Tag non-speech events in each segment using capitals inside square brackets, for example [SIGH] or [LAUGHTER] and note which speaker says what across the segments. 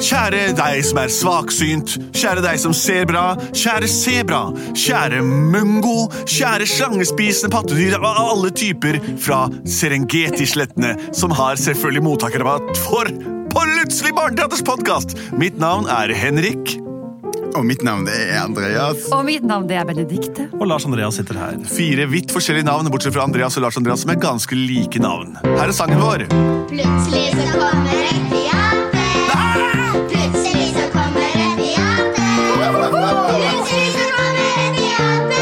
Speaker 1: Kjære deg som er svaksynt, kjære deg som ser bra, kjære sebra, kjære mungo, kjære slangespisende pattedyr av alle typer fra Serengeti-slettene, som har selvfølgelig mottakerrabatt for Plutselig barneteaters podkast! Mitt navn er Henrik.
Speaker 2: Og mitt navn det er Andreas.
Speaker 3: Og mitt navn det er Benedikte.
Speaker 4: Og Lars Andreas sitter her.
Speaker 1: Fire vidt forskjellige navn, bortsett fra Andreas og Lars Andreas, som er ganske like navn. Her er sangen vår.
Speaker 5: Plutselig så kommer et teater. Plutselig så kommer et teater. Plutselig så kommer et teater,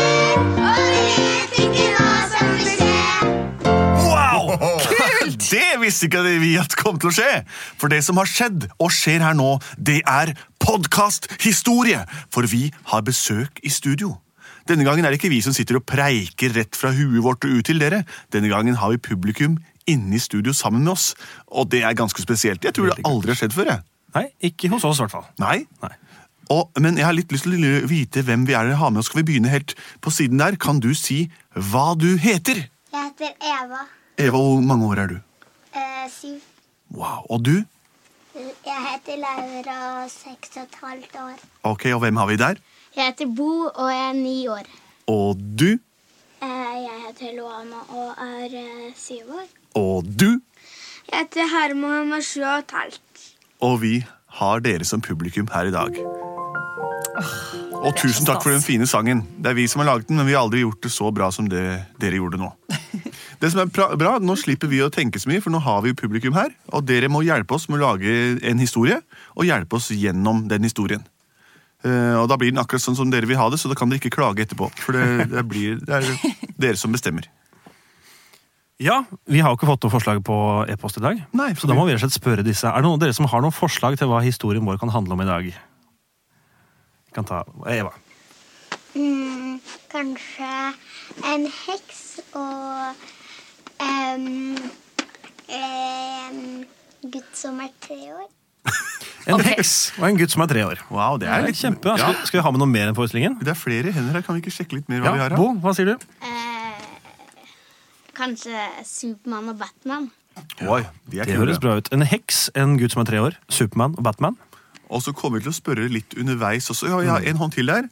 Speaker 5: og vi vet ikke hva som vil skje.
Speaker 1: [LAUGHS] Wow! Kult! Det visste ikke vi at kom til å skje. For det som har skjedd, og skjer her nå, det er podkasthistorie. For vi har besøk i studio. Denne gangen er det ikke vi som sitter og preiker rett fra huet vårt og ut til dere. Denne gangen har vi publikum inne i studio sammen med oss. Og det er ganske spesielt. Jeg tror det aldri har skjedd før. jeg.
Speaker 4: Nei, ikke hos oss i hvert fall.
Speaker 1: Nei.
Speaker 4: Nei.
Speaker 1: Og, men jeg har litt lyst til å vite hvem vi er dere har med oss. Skal vi begynne helt på siden der? Kan du si hva du heter?
Speaker 5: Jeg heter Eva.
Speaker 1: Eva, hvor mange år er du?
Speaker 5: eh, syv.
Speaker 1: Wow. Og du?
Speaker 5: Jeg heter Laura, seks og et halvt år.
Speaker 1: Ok, og hvem har vi der?
Speaker 5: Jeg heter Bo, og jeg er ni år.
Speaker 1: Og du?
Speaker 5: Eh, Jeg heter Luana og er eh, syv år.
Speaker 1: Og du?
Speaker 5: Jeg heter Herman og er sju og et halvt.
Speaker 1: Og vi har dere som publikum her i dag. Og tusen takk for den fine sangen. Det er vi som har laget den, men vi har aldri gjort det så bra som det dere gjorde nå. Det som er pra- bra, Nå slipper vi å tenke så mye, for nå har vi jo publikum her. Og dere må hjelpe oss med å lage en historie, og hjelpe oss gjennom den historien. Eh, og da blir den akkurat sånn som dere vil ha det, så da kan dere ikke klage etterpå. For det, det, blir, det er dere som bestemmer.
Speaker 4: Ja, Vi har jo ikke fått noe forslag på e-post i dag,
Speaker 1: Nei,
Speaker 4: så da må vi rett og slett spørre disse. Er det noen av dere som har noen forslag til hva historien vår kan handle om i dag? Vi kan ta Eva.
Speaker 5: Mm, kanskje en heks og em, em, gutt som er tre år.
Speaker 4: En heks og en gutt som er tre år.
Speaker 1: Wow, det
Speaker 4: Det
Speaker 1: er
Speaker 4: er
Speaker 1: litt
Speaker 4: kjempe.
Speaker 1: Ja.
Speaker 4: Skal, skal vi ha med noe mer enn forestillingen?
Speaker 1: Det er flere hender her. Kan vi ikke sjekke litt mer hva vi
Speaker 4: Ja,
Speaker 1: har her?
Speaker 4: Bo, hva sier du?
Speaker 5: Eh, kanskje Supermann og Batman.
Speaker 1: Oi, de er
Speaker 4: Det
Speaker 1: kule.
Speaker 4: høres bra ut. En heks, en gutt som er tre år, Supermann og Batman.
Speaker 1: Og så kommer vi til å spørre litt underveis også. Ja,
Speaker 4: Mm.
Speaker 1: jeg har en hånd til der.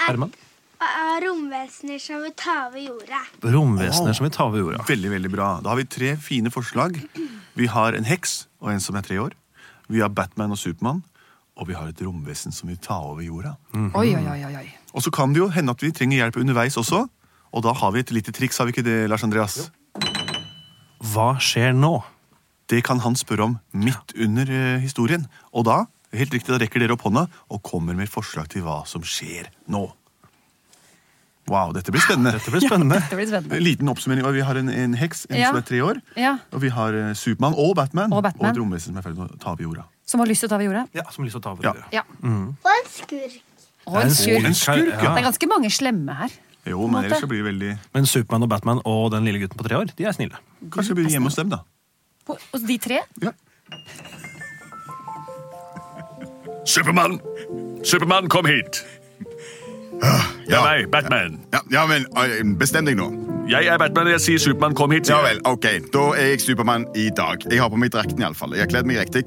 Speaker 4: Herman.
Speaker 5: romvesener som vil ta over jorda.
Speaker 4: Romvesener som vil ta over jorda.
Speaker 1: Veldig, veldig bra. Da har vi tre fine forslag. Vi har en heks og en som er tre år. Vi har Batman og Supermann. Og vi har et romvesen som vil ta over jorda.
Speaker 4: Mhm.
Speaker 3: Oi, oi, oi, oi, oi.
Speaker 1: Og så kan det jo hende at vi trenger hjelp underveis også. Og da har vi et lite triks, har vi ikke det, Lars Andreas?
Speaker 4: Hva skjer nå?
Speaker 1: Det kan han spørre om midt under eh, historien. Og da, helt riktig, da rekker dere opp hånda og kommer med forslag til hva som skjer nå. Wow, dette blir spennende.
Speaker 4: Det blir spennende.
Speaker 3: Det blir spennende.
Speaker 1: En liten oppsummering. Vi har en, en heks en
Speaker 3: Ja.
Speaker 1: som er tre år.
Speaker 3: Ja.
Speaker 1: Og vi har eh, Supermann og Batman.
Speaker 3: Og Batman.
Speaker 1: et romvesen som er i ferd med å ta over jorda.
Speaker 3: Som har lyst til å ta over jorda.
Speaker 4: Ja, som har lyst til å ta over
Speaker 1: Ja.
Speaker 4: jorda.
Speaker 3: Ja.
Speaker 5: Og en skurk.
Speaker 3: Og en skurk.
Speaker 1: En skurk, ja.
Speaker 3: Det er ganske mange slemme her.
Speaker 1: Jo,
Speaker 3: en
Speaker 1: men
Speaker 3: måte.
Speaker 1: ellers så blir det veldig
Speaker 4: Men Supermann og Batman og den lille gutten på tre år, de er snille.
Speaker 1: Kanskje det blir hjemme hos dem, da.
Speaker 3: Hos hos de tre?
Speaker 1: Ja.
Speaker 6: Supermann! Supermann, kom hit! Det
Speaker 2: Ja,
Speaker 6: er meg, Batman.
Speaker 2: ja, ja vel, eh, bestem deg nå.
Speaker 6: Jeg er Batman, og jeg sier Supermann, kom hit.
Speaker 2: Ja
Speaker 6: sier jeg.
Speaker 2: vel, ok. Da er jeg Supermann i dag. Jeg har på meg drakten iallfall. Jeg har kledd meg riktig.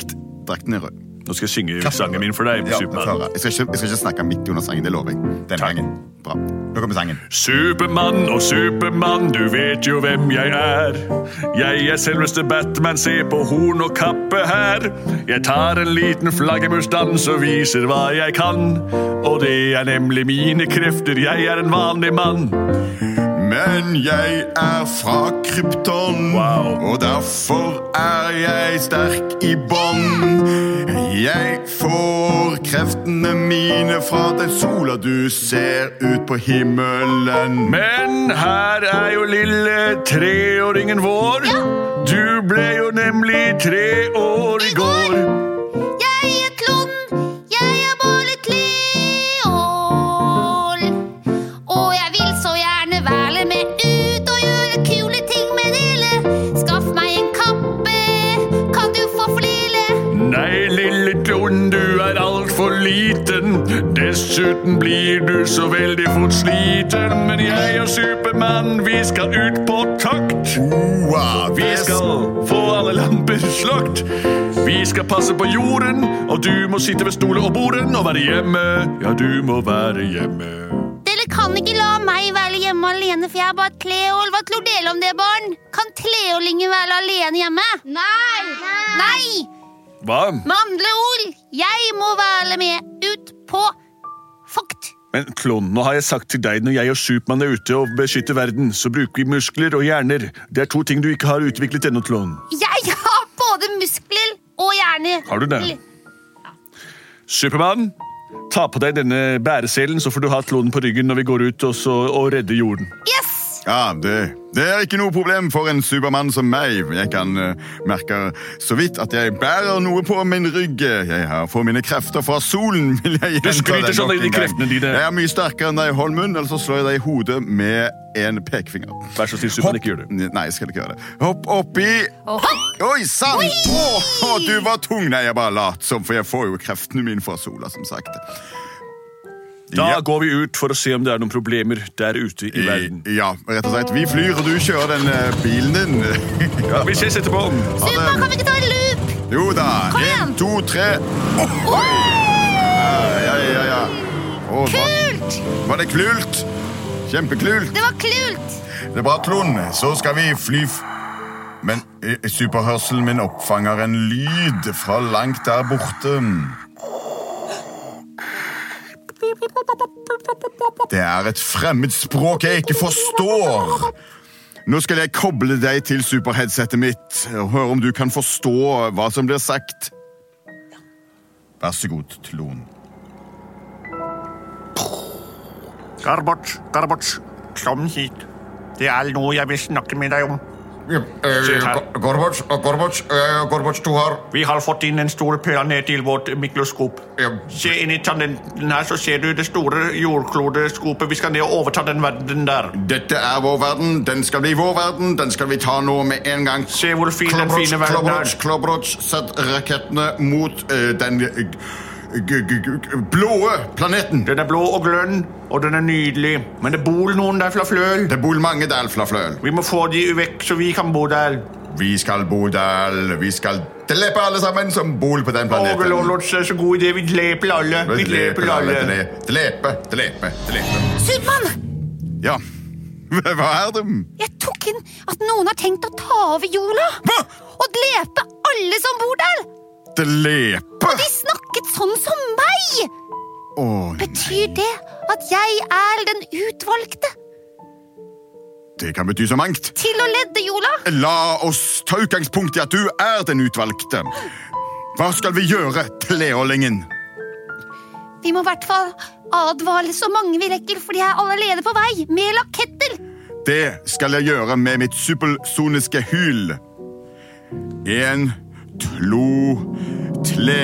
Speaker 2: Drakten er rød.
Speaker 6: Nå skal jeg synge sangen min for deg,
Speaker 2: Ja, jeg, får
Speaker 6: Supermann.
Speaker 2: høre. jeg, skal ikke, jeg skal ikke snakke midt under sangen, det lover jeg. Denne gangen. Bra. Nå kommer sangen.
Speaker 1: Supermann og Supermann, du vet jo hvem jeg er. Jeg er selveste Batman, se på horn og kappe her. Jeg tar en liten flaggermusdans og viser hva jeg kan. Og det er nemlig mine krefter, jeg er en vanlig mann.
Speaker 2: Men jeg er fra Krypton,
Speaker 1: Wow.
Speaker 2: og derfor er jeg sterk i bånn. Jeg får kreftene mine fra den sola du ser ut på himmelen.
Speaker 1: Men her er jo lille treåringen vår. Du ble jo nemlig tre år i går.
Speaker 7: Jeg er Klon, jeg er Båle Kleol. Og jeg vil så gjerne være med ut og gjøre kule ting med dere. Skaff meg en kappe, kan du få flire?
Speaker 1: Nei, lille klon, du er altfor liten. Dessuten blir du så veldig fort sliten. Men jeg og Supermann, vi skal ut på takt.
Speaker 2: Wow,
Speaker 1: Vi skal få alle lamper slakt. Vi skal passe på jorden, og du må sitte ved stolen og borden og være hjemme. Ja, du må være hjemme.
Speaker 7: Dere kan ikke la meg være hjemme alene, for jeg er bare Kleol. Hva tror dere om det, barn? Kan Kleolingen være alene hjemme? Nei! Nei!
Speaker 1: Hva?
Speaker 7: Med andre ord, jeg må være med ut på fakt.
Speaker 1: Men klon, nå har jeg sagt til deg når jeg og Supermann er ute og beskytter verden, så bruker vi muskler og hjerner. Det er to ting du ikke har utviklet ennå, klon.
Speaker 7: Jeg har både muskler og hjerne.
Speaker 1: Har du det? Supermann, ta på deg denne bæreselen, så får du ha klonen på ryggen når vi går ut og, så, og redder jorden.
Speaker 7: Yes!
Speaker 2: Ja, det, det er ikke noe problem for en supermann som meg. Jeg kan eh, merke så vidt at jeg bærer noe på min rygg. Jeg har, får mine krefter fra solen, [LAUGHS] vil jeg gjenta.
Speaker 1: skryter
Speaker 2: det
Speaker 1: sånn
Speaker 2: nok
Speaker 1: av de
Speaker 2: en gang.
Speaker 1: kreftene dine.
Speaker 2: Jeg er mye sterkere enn deg, Holmen, ellers så slår jeg deg i hodet med en pekefinger.
Speaker 1: Vær så snill, Supermann, ikke gjør det.
Speaker 2: Nei, jeg skal ikke gjøre det. Hopp oppi
Speaker 8: Og
Speaker 2: Oi sann! Åh, du var tung! Nei, jeg er bare lat, som, for jeg får jo kreftene mine fra sola, som sagt.
Speaker 1: Da
Speaker 2: Ja.
Speaker 1: går vi ut for å se om det er noen problemer der ute i verden.
Speaker 2: I- Ja, rett og slett. Vi flyr, og du kjører den eh, bilen din. [LAUGHS] ja.
Speaker 1: Vi ses etterpå.
Speaker 7: Supermann, kan vi ikke ta en loop?
Speaker 2: Jo da.
Speaker 7: Kom igjen.
Speaker 2: En, to, tre.
Speaker 7: Wow!
Speaker 2: Ja, ja, ja. Å, var,
Speaker 7: Kult!
Speaker 2: var det kult? Kjempekult.
Speaker 7: Det var kult!
Speaker 2: Det er bra, Trond. Så skal vi fly f... Men eh, superhørselen min oppfanger en lyd fra langt der borte. Det er et fremmed språk jeg ikke forstår. Nå skal jeg koble deg til superheadsetet mitt og høre om du kan forstå hva som blir sagt. Vær så god, Tlon.
Speaker 9: Garbert, Garbert, kom hit. Det er noe jeg vil snakke med deg om.
Speaker 10: eh,
Speaker 9: Sitt her.
Speaker 10: Gorbac, Gorbac, Gorbac, eh, du har
Speaker 9: Vi har fått inn en stor planet til vårt mikroskop.
Speaker 10: Ja.
Speaker 9: Se inn i tannenten her, så ser du det store jordklodeskopet. Vi skal ned og overta den verden der.
Speaker 2: Dette er vår verden, den skal bli vår verden, den skal vi ta nå med en gang.
Speaker 9: Se hvor fin den fine verden
Speaker 2: Klobroch,
Speaker 9: er.
Speaker 2: Klobroch, sett rakettene mot eh, den eh, g- g- g- blåe planeten.
Speaker 9: Den er blå og grønn, og den er nydelig. Men det bor noen der fra Fløl.
Speaker 2: Det bor mange der fra Fløl.
Speaker 9: Vi må få de vekk, så vi kan bo der.
Speaker 2: Vi skal bo der, vi skal drepe alle sammen som bor på den
Speaker 9: Å,
Speaker 2: planeten.
Speaker 9: Lollots er så god idé. Vi dreper alle. Vi dreper alle.
Speaker 2: dre- Drepe, drepe, drepe.
Speaker 7: Supermann,
Speaker 2: Ja, [LAUGHS] hva er det?
Speaker 7: jeg tok inn at noen har tenkt å ta over jorda.
Speaker 2: Hva?
Speaker 7: Og drepe alle som bor der.
Speaker 2: Drepe?
Speaker 7: De snakket sånn som meg.
Speaker 2: Åh,
Speaker 7: Betyr det at jeg er den utvalgte
Speaker 2: det kan bety så mangt.
Speaker 7: til å ledde jorda?
Speaker 2: La oss ta utgangspunkt i at du er den utvalgte. Hva skal vi gjøre, Kleålingen?
Speaker 7: Vi må i hvert fall advare så mange vi rekker, for de er allerede på vei med laketter.
Speaker 2: Det skal jeg gjøre med mitt supersoniske hyl. En, tlo, tle.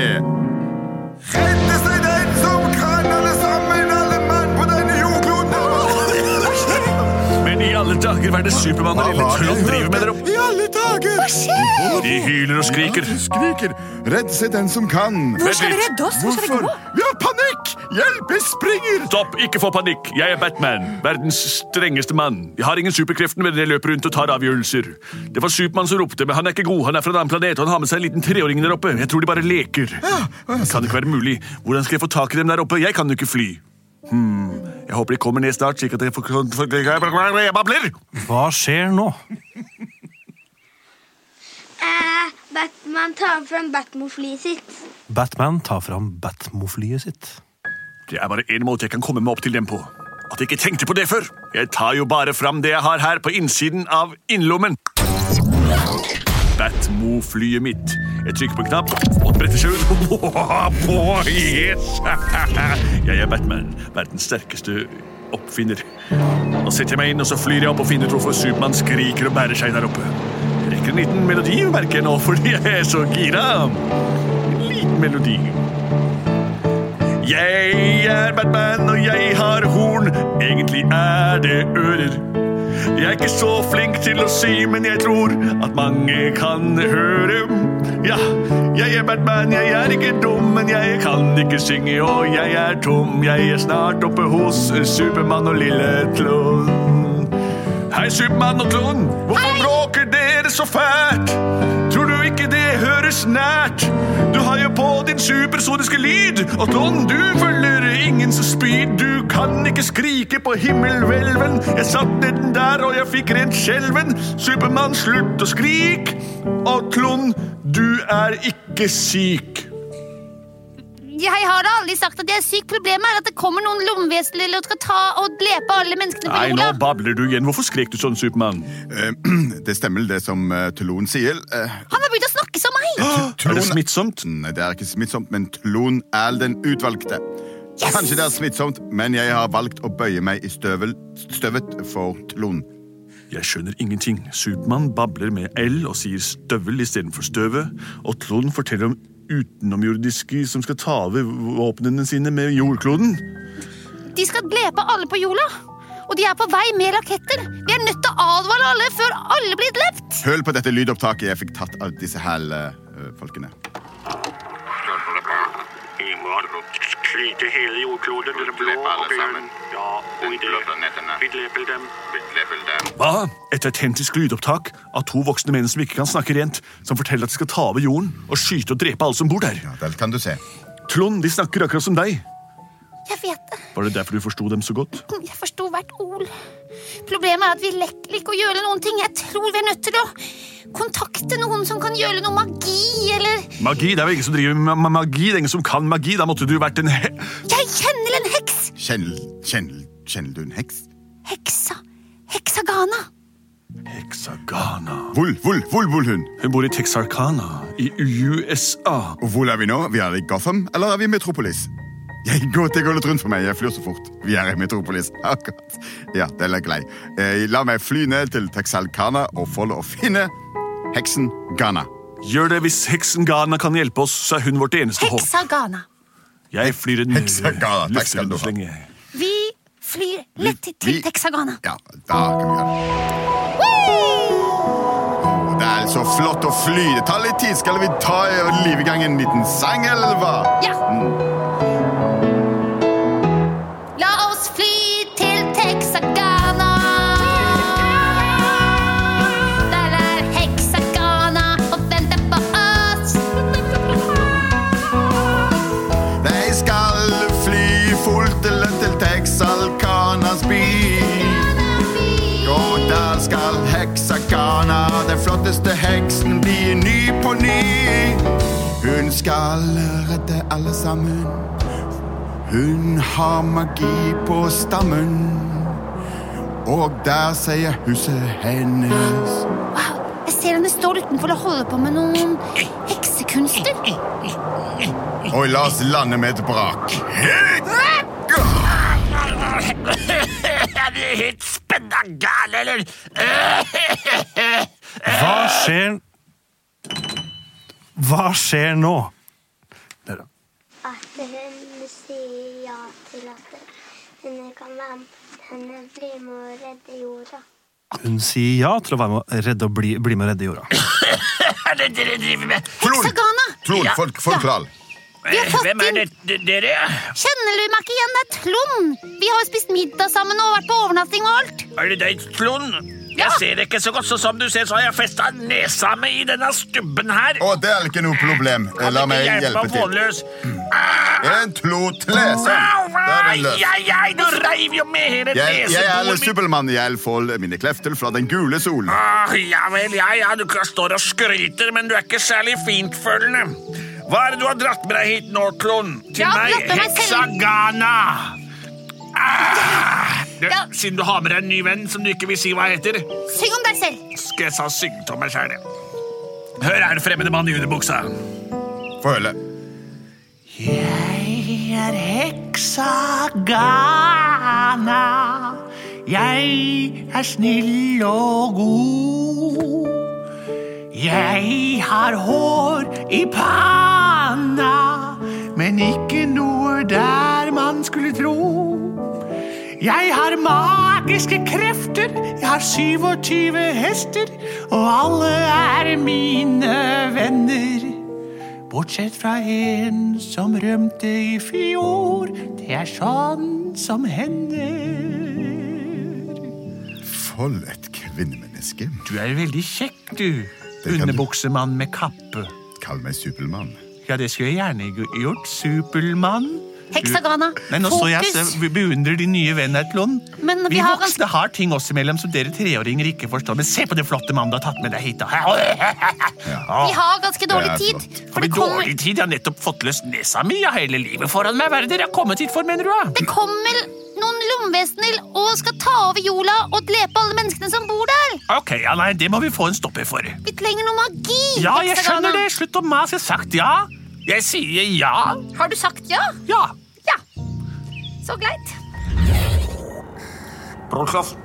Speaker 2: Redde seg den som kan, alle sammen, alle mann på denne jordkloden!
Speaker 1: Men i alle dager, hva er det Supermann og lille Klon driver med der oppe?
Speaker 2: I alle dager! Hva skjer?
Speaker 1: De hyler og skriker.
Speaker 2: Skriker. Redd seg den som kan.
Speaker 8: Hvor skal vi redde oss? Hvor skal vi gå?
Speaker 2: Vi har panikk! Hjelp, jeg springer!
Speaker 1: Stopp, ikke få panikk. Jeg er Batman, verdens strengeste mann. Jeg har ingen superkrefter, men jeg løper rundt og tar avgjørelser. Det var Supermann som ropte, men han er ikke god. Han er fra en annen planet, og han har med seg en liten treåring der oppe. Jeg tror de bare leker. Det kan ikke være mulig. Hvordan skal jeg få tak i dem der oppe? Jeg kan jo ikke fly. Jeg håper de kommer ned snart, slik at jeg får
Speaker 11: Jeg babler!
Speaker 4: Hva skjer nå?
Speaker 5: Eh, Batman tar fram Batmoflyet sitt.
Speaker 4: Batman tar fram Batmoflyet sitt.
Speaker 1: Det er bare én måte jeg kan komme meg opp til dem på. At jeg ikke tenkte på det før. Jeg tar jo bare fram det jeg har her på innsiden av innlommen.
Speaker 6: Batmo-flyet mitt. Jeg trykker på en knapp, og det bretter seg ut. [LAUGHS] Åh, yes! [LAUGHS] Jeg er Batman, verdens sterkeste oppfinner. Nå setter jeg meg inn, og så flyr jeg opp og finner ut hvorfor Supermann skriker og bærer seg der oppe. Jeg rekker en liten melodi, merker jeg nå, [LAUGHS] fordi jeg er så gira. En liten melodi. Jeg er Batman, og jeg har horn. Egentlig er det ører. Jeg er ikke så flink til å si, men jeg tror at mange kan høre. Ja, jeg er Batman, jeg er ikke dum, men jeg kan ikke synge, og jeg er tom. Jeg er snart oppe hos Supermann og lille Klon. Hei, Supermann og Klon. Hvorfor bråker dere så fælt? Tror du ikke det høres nært? Du har jo på din supersoniske lyd, og Klon, du følger ingens speed. Du kan ikke skrike på himmelhvelven. Jeg satt den der, og jeg fikk rent skjelven. Supermann, slutt å skrik. Og Klon, du er ikke syk.
Speaker 7: Jeg har da aldri sagt at jeg er syk. Problemet er at det kommer noen lommevesener og skal ta og drepe alle menneskene på
Speaker 6: Nei, nå
Speaker 7: jorda.
Speaker 6: babler du igjen. Hvorfor skrek du sånn, Supermann?
Speaker 2: Eh, [CLEARS THROAT] Det stemmer det som eh, Tlon sier. Eh,
Speaker 7: Han har begynt å snakke som meg!
Speaker 2: Ah!
Speaker 6: Er det smittsomt?
Speaker 2: Nei, det er ikke smittsomt, men Tlon er den utvalgte. Kanskje det er smittsomt, men jeg har valgt å bøye meg i støvel, støvet for Tlon.
Speaker 6: Jeg skjønner ingenting. Supermann babler med L og sier støvel istedenfor støve, og Trond forteller om utenomjordiske som skal ta over våpnene sine med jordkloden.
Speaker 7: De skal drepe alle på jorda. Og de er på vei med raketter. Vi er nødt til å advare alle før alle blir drept.
Speaker 2: Høl på dette lydopptaket jeg fikk tatt av disse her eh, folkene.
Speaker 12: I morgen sliter hele jordkloden den blå og grønn. Ja, og i det vi dreper dem.
Speaker 6: Hva? Et autentisk lydopptak av to voksne menn som ikke kan snakke rent, som forteller at de skal ta over jorden og skyte og drepe alle som bor der.
Speaker 2: Ja, der kan du se.
Speaker 6: Trond, de snakker akkurat som deg.
Speaker 7: Jeg vet det.
Speaker 6: Var det derfor du forsto dem så godt?
Speaker 7: Jeg forsto hvert ord. Problemet er at vi lekker ikke å gjøre noen ting. Jeg tror vi er nødt til å kontakte noen som kan gjøre noe magi, eller
Speaker 6: Magi? Det er vel ingen som driver med ma- magi? Det er ingen som kan magi? Da måtte du vært en he...
Speaker 7: Jeg kjenner en heks!
Speaker 2: Kjenner, kjenner, kjenner du en heks?
Speaker 7: Heksa. Heksagana.
Speaker 6: Hexagana.
Speaker 2: Hvor, hvor, hvor bor hun?
Speaker 6: Hun bor i Texarkana i USA.
Speaker 2: Og hvor er vi nå? Vi er i Gotham, eller er vi i Metropolis? Jeg går til litt rundt for meg, jeg flyr så fort. Vi er i Metropolis, [LAUGHS] akkurat. Ja, den er grei. Eh, la meg fly ned til Texalcana og for å finne heksen Ghana.
Speaker 6: Gjør det hvis heksen Ghana kan hjelpe oss, så er hun vårt eneste håp.
Speaker 7: Heksagana.
Speaker 6: Jeg flyr en
Speaker 2: Hexagana, takk skal du ha.
Speaker 6: luftrundslenge.
Speaker 7: Vi flyr lett
Speaker 2: vi-
Speaker 7: til Texagana.
Speaker 2: Ja, da kan vi gjøre det. Å, Det er så flott å fly. Det tar litt tid. Skal vi ta og live i gang en liten sang, eller hva?
Speaker 7: Ja. La oss fly til Texagana. Der er Hexagana og venter på oss.
Speaker 2: Jeg skal fly fortere til Texalcanas by. Og der skal heksagana, den flotteste heksen, bli ny på ny. Hun skal redde alle sammen. Hun har magi på stammen. Og der sier huset hennes
Speaker 7: Wow, jeg ser henne står utenfor og holder på med noen heksekunster.
Speaker 2: Oi, la oss lande med et brak.
Speaker 4: Hva skjer Hva skjer nå? Der, da.
Speaker 5: At hun sier ja til at hun kan være med henne bli med og redde jorda.
Speaker 4: Hun sier ja til å være med å redde og bli, bli med å redde jorda.
Speaker 7: Hexagana!
Speaker 2: Trond, folk, forklar.
Speaker 7: Vi har fått inn
Speaker 12: dere?
Speaker 7: Kjenner du meg ikke igjen? Det er Trond! Vi har jo spist middag sammen og vært på overnatting og alt.
Speaker 12: Er det deg, Trond?
Speaker 7: Ja.
Speaker 12: Jeg ser ikke så godt, så som du ser, så har jeg festa nesa mi i denne stubben her.
Speaker 2: Å, det er ikke noe problem. La meg hjelpe
Speaker 12: meg
Speaker 2: til.
Speaker 12: vånløs?
Speaker 2: En, to, tre, sånn.
Speaker 12: Au, au,
Speaker 2: er den løs.
Speaker 11: Ai, ai, ai, nå reiv jo med hele
Speaker 2: Jeg, jeg er
Speaker 11: neseboren min.
Speaker 2: Supermann. Jeg folder mine klefter fra den gule solen.
Speaker 11: Ah, ja vel, ja, ja, du kan stå og skryter, men du er ikke særlig fintfølende. Hva er det du har dratt med deg hit nå, Klon? Til
Speaker 7: Jeg har
Speaker 11: meg,
Speaker 7: dratt med meg
Speaker 11: heksa
Speaker 7: selv-
Speaker 11: Ghana. Ah, du, Siden du har med deg en ny venn som du ikke vil si hva heter,
Speaker 7: Syng om deg selv.
Speaker 11: skal jeg sa synge til meg sjæl. Hør her, fremmede mann i underbuksa.
Speaker 2: Få høre.
Speaker 11: Jeg er heksa Ghana. Jeg er snill og god. Jeg har hår i panna, men ikke noe der man skulle tro. Jeg har magiske krefter, jeg har 27 hester, og alle er mine venner. Bortsett fra en som rømte i fjor. Det er sånn som hender.
Speaker 2: For et kvinnemenneske.
Speaker 11: Du er veldig kjekk, du.
Speaker 2: kan du.
Speaker 11: Underbuksemann med kappe.
Speaker 2: Kall meg Supermann.
Speaker 11: Ja, det skulle jeg gjerne gu- gjort. Supermann.
Speaker 7: Heksagana.
Speaker 11: Men nå så jeg se- vi beundrer de nye vennene til Lund.
Speaker 7: Men
Speaker 11: vi
Speaker 7: vi har
Speaker 11: voksne har ting oss imellom som dere treåringer ikke forstår. Men se på det flotte mannen du har tatt med deg hit. da. ah.
Speaker 7: Vi har ganske dårlig tid.
Speaker 11: Har [LAUGHS] vi dårlig tid? Jeg har nettopp fått løst nesa mi. Jeg har hele livet foran meg. Hva er det dere har kommet hit for, mener du? da?
Speaker 7: Det kommer noen lommevesener og skal ta over jorda og drepe alle menneskene som bor der.
Speaker 11: Ok, ja, nei, det må vi få en stopper for.
Speaker 7: Vi trenger noe magi.
Speaker 11: Ja, jeg
Speaker 7: Heksagana.
Speaker 11: skjønner det. Slutt å mase. Jeg har sagt ja. Jeg sier ja.
Speaker 7: Har du sagt ja?
Speaker 11: Ja.
Speaker 7: Ja. Så greit.
Speaker 13: Brotloff.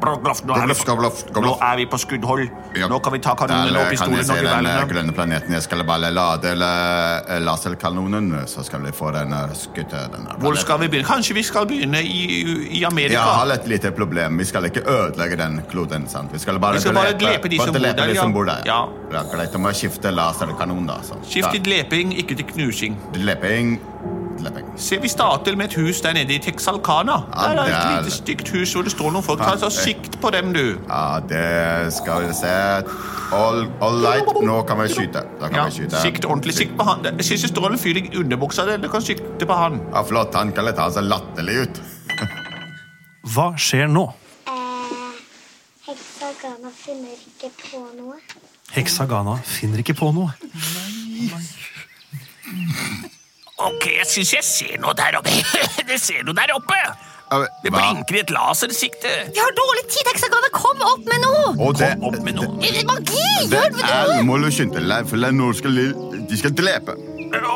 Speaker 13: Brotloff, nå, er vi- nå er vi på skuddhold. Nå kan vi ta kanonene og
Speaker 2: Der kan jeg
Speaker 13: pistolene
Speaker 2: se
Speaker 13: og
Speaker 2: den eh,
Speaker 13: geværene.
Speaker 2: grønne planeten. Jeg skal bare lade la- eh, laserkanonen, så skal vi få den eh, skutt. eh, Den der.
Speaker 11: Hvor skal vi begynne? Kanskje vi skal begynne i, i
Speaker 2: Jeg har
Speaker 11: Amerika?
Speaker 2: et lite problem. Vi skal ikke ødelegge den kloden. sant? Vi skal bare,
Speaker 11: Vi skal bare drepe de som bor
Speaker 2: drepe
Speaker 11: der,
Speaker 2: de
Speaker 11: ja.
Speaker 2: som bor der. Ja. greit, da må jeg skifte laserkanon, da. sånn.
Speaker 11: Skift til
Speaker 2: Da.
Speaker 11: leping, ikke til knusing.
Speaker 2: Leping. Leping.
Speaker 11: Se, Vi starter med et hus der nede i Texalcana.
Speaker 2: Ja,
Speaker 11: der er
Speaker 2: det er-
Speaker 11: et lite stygt hus hvor det står noen folk. Ta så sikt på dem, du.
Speaker 2: Ja, det skal vi se. All, all right, nå kan vi skyte. Da kan
Speaker 11: Ja,
Speaker 2: vi skyte.
Speaker 11: sikt ordentlig. Sikt på han. Jeg synes det står en fyr i underbuksa der. Du kan sikte på han.
Speaker 2: Ja, flott. Han kan litt ha seg latterlig ut.
Speaker 4: Hva skjer nå?
Speaker 5: Eh, Heksa Gana finner ikke på noe.
Speaker 4: Heksa Ghana finner ikke på noe.
Speaker 11: Ok, jeg syns jeg ser noe der oppe. [LAUGHS] Det ser noe der oppe. Det blinker i et lasersikte.
Speaker 7: Vi har dårlig tid, Heksagana. Kom opp med noe.
Speaker 2: Og det,
Speaker 7: Magi!
Speaker 2: det
Speaker 7: Gjør
Speaker 2: er
Speaker 7: noe!
Speaker 2: må du skynde deg, for det er noen skal, de skal drepe.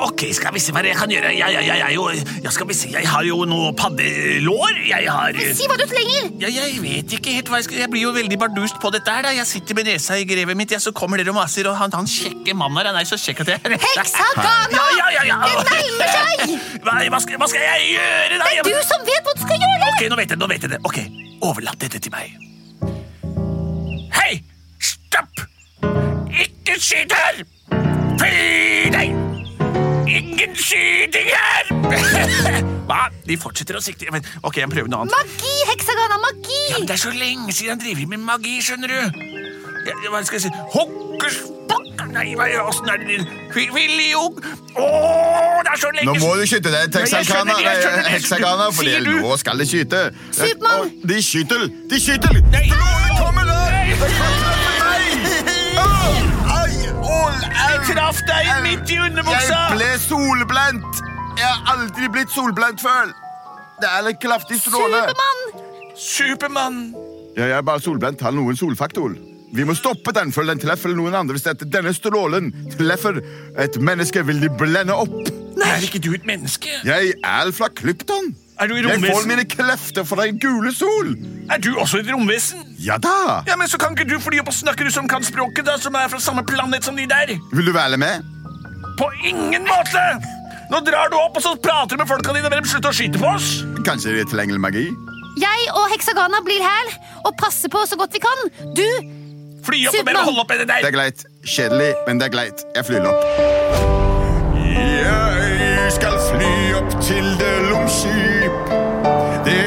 Speaker 11: Ok, skal vi se hva jeg kan gjøre. Jeg, jeg, jeg, er jo, ja, skal vi se. jeg har jo noe paddelår. Jeg har
Speaker 7: Si hva du trenger.
Speaker 11: Ja, jeg vet ikke helt hva jeg skal Jeg blir jo veldig bardust på dette her. da Jeg sitter med nesa i grevet mitt, ja, så kommer dere og maser, og han, han kjekke mannen her, han er så kjekk at jeg
Speaker 7: Heksagana!
Speaker 11: Ja, ja, ja, ja.
Speaker 7: Det nærmer seg!
Speaker 11: Hva, hva, skal, hva skal jeg gjøre, da?
Speaker 7: Det er du som vet hva du skal gjøre.
Speaker 11: Ok, nå vet jeg, nå vet jeg det. Ok, Overlat dette til meg. Hei! Stopp! Ikke skyt her! Fy deg! Ingen skyting her! [LAUGHS] Hva? De fortsetter å sikte. Men, ok, jeg prøver noe annet.
Speaker 7: Magi, Heksagana. Magi.
Speaker 11: Ja, men det er så lenge siden han driver med magi, skjønner du. Ja, ja, hva skal jeg si? Hokkers... pokk- Nei, hva er åssen er det Vil- Viljog Åh, det er så lenge
Speaker 2: Nå må du skyte deg,
Speaker 11: Ja, jeg skjønner
Speaker 2: Texarkana,
Speaker 11: det, jeg skjønner det.
Speaker 2: Hexagana, for
Speaker 11: Sier du?
Speaker 2: nå skal de skyte.
Speaker 7: Supermann!
Speaker 2: Og De skyter! De skyter! Strålen kommer der! Det kommer meg! Au! Ai, all
Speaker 11: Jeg traff deg midt i underbuksa!
Speaker 2: Jeg ble solblent! Jeg har aldri blitt solblent før! Det er en kraftig stråle.
Speaker 7: Supermann.
Speaker 11: Supermann!
Speaker 2: Ja, jeg er bare solblent. Har noen solfaktor. Vi må stoppe den før den treffer noen andre. Hvis dette- denne strålen treffer et menneske, vil de blende opp.
Speaker 11: Er ikke du et menneske?
Speaker 2: Jeg er fra Klypton.
Speaker 11: Er du i
Speaker 2: Jeg får
Speaker 11: romvesen?
Speaker 2: mine klefter fra den gule sol.
Speaker 11: Er du også et romvesen?
Speaker 2: Ja da!
Speaker 11: Ja, men så kan ikke du fly opp og snakke du som kan språket, da, som er fra samme planet som de der?
Speaker 2: Vil du være med?
Speaker 11: På ingen måte! Nå drar du opp, og så prater du med folka dine, men de slutter å skyte på oss!
Speaker 2: Kanskje det er tilgjengelig magi?
Speaker 7: Jeg og Heksagana blir her og passer på så godt vi kan. Du
Speaker 11: Fly opp og bare
Speaker 7: Supermann.
Speaker 11: holde opp med det der!
Speaker 2: Det er greit. Kjedelig, men det er greit. Jeg flyr opp. Jeg skal fly opp til det lomskip. Det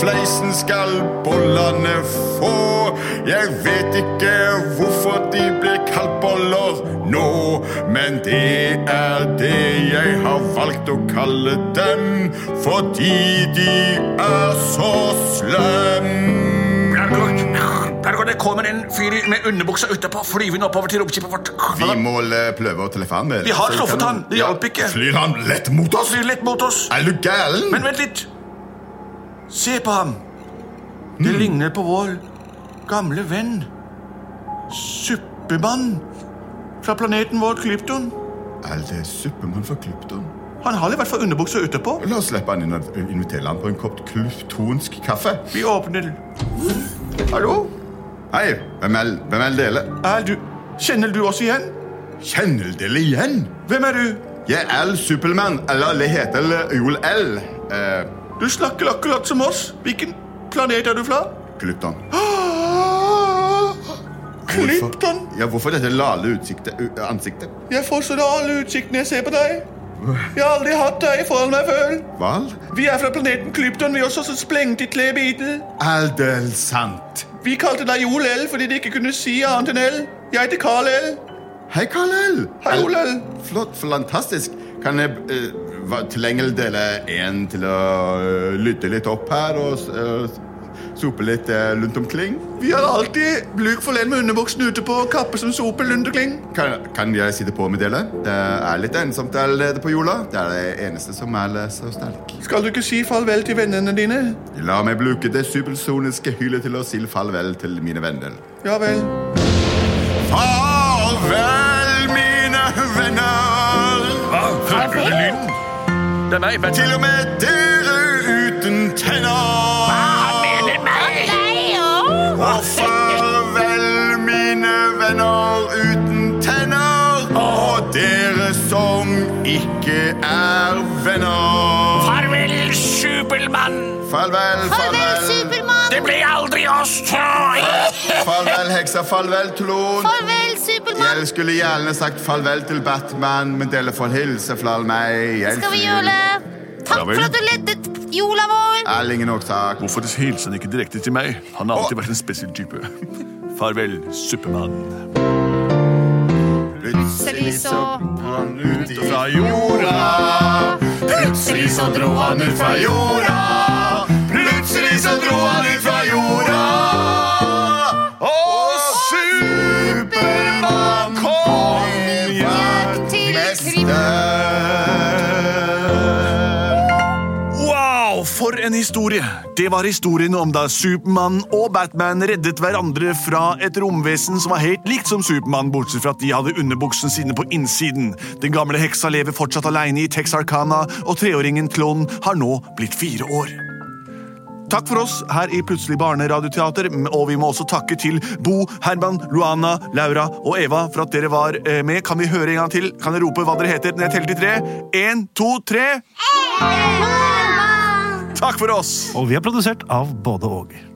Speaker 2: fleisen skal bollene få. Jeg vet ikke hvorfor de ble kalt boller nå, men det er det jeg har valgt å kalle dem, fordi de er så slem.
Speaker 1: Bergård, det kommer en fyr med underbuksa utapå. Flyr vi nå oppover til romskipet vårt?
Speaker 2: Vi må eh, prøve å telefonere med
Speaker 1: Vi har truffet han. Det hjalp ikke.
Speaker 2: Flyr han lett mot oss?
Speaker 1: Flyr lett mot oss.
Speaker 2: Er du gæren?
Speaker 1: Men vent litt. Se på ham. Det
Speaker 14: Mm.
Speaker 1: ligner på vår gamle venn. Suppemann fra planeten vår Klypton.
Speaker 2: Er det Suppemann fra Klypton?
Speaker 1: Han har i hvert fall underbuksa ute på.
Speaker 2: La oss slippe han inn og invitere han på en kopp klyptonsk kaffe.
Speaker 1: Vi åpner.
Speaker 2: Hallo? Hei, hvem er, hvem er dere?
Speaker 1: Er du Kjenner du oss igjen?
Speaker 2: Kjenner dere igjen?
Speaker 1: Hvem er du?
Speaker 2: Jeg er Supermann, eller jeg heter Joel L. Eh,
Speaker 1: Du snakker akkurat som oss. Hvilken planet er du fra? [GASPS]
Speaker 2: Klypton.
Speaker 1: Klypton!
Speaker 2: Ja, hvorfor dette lale utsiktet, u- ansiktet?
Speaker 1: Jeg får så alle utsiktene jeg ser på deg. Jeg har aldri hatt deg foran meg før.
Speaker 2: Hval?
Speaker 1: Vi er fra planeten Klypton, vi også, som splengte i tre biter.
Speaker 2: Aldel sant.
Speaker 1: Vi kalte deg Joel L fordi de ikke kunne si annet enn L. Jeg heter Carl L.
Speaker 2: Hei, Karl L.
Speaker 1: Hei, Joel L.
Speaker 2: Flott, fantastisk. Kan jeg eh, hva- tilgjengel dele en til å eh, lytte litt opp her og eh, sope litt eh, rundt omkring?
Speaker 1: Vi har alltid bruk for en med underbuksen ute på og kappe som sope lundekling.
Speaker 2: Kan, kan jeg sitte på med dere? Det er litt ensomt der nede på jorda. Det er det eneste som er eh, så sterk.
Speaker 1: Skal du ikke si farvel til vennene dine?
Speaker 2: La meg bruke det supersoniske hylet til å si farvel til mine venner.
Speaker 1: Ja vel.
Speaker 2: Farvel, mine venner.
Speaker 14: Hva? Hører du den lyden? Det er meg, Batman.
Speaker 2: Til og med dere uten tenner. Og farvel, mine venner uten tenner. Og dere som ikke er venner.
Speaker 1: Farvel,
Speaker 2: Supermann. Farvel,
Speaker 7: Farvel,
Speaker 2: farvel.
Speaker 7: Supermann!
Speaker 1: Det blir aldri oss!
Speaker 2: Farvel, heksa. Farvel, Trond.
Speaker 7: Farvel, Supermann!
Speaker 2: Jeg skulle gjerne sagt farvel til Batman, men dere får hilse fra meg. Jeg
Speaker 7: Skal vi
Speaker 2: sier-
Speaker 7: gjøre Takk for at du leddet jula vår!
Speaker 2: Er ingen årsak.
Speaker 14: Hvorfor hilser han ikke direkte til meg? Han har alltid vært en spesiell type. [LAUGHS] Farvel, Supermann.
Speaker 2: Plutselig så han ut fra jorda. Plutselig så dro han ut fra jorda. Plutselig så dro han ut fra jorda. Og Supermann kom hjem til
Speaker 6: Wow, for en historie! Det var historien om da Supermann og Batman reddet hverandre fra et romvesen som var helt likt som Supermann, bortsett fra at de hadde underbuksene sine på innsiden. Den gamle heksa lever fortsatt alene i Texarkana, og treåringen Klon har nå blitt fire år. Takk for oss her i Plutselig barneradioteater, m- og vi må også takke til Bo, Herman, Luana, Laura og Eva for at dere var eh, med. Kan vi høre en gang til? Kan dere rope hva dere heter når jeg teller til tre? Én, to, tre. Takk for oss!
Speaker 11: Og vi er produsert av både og.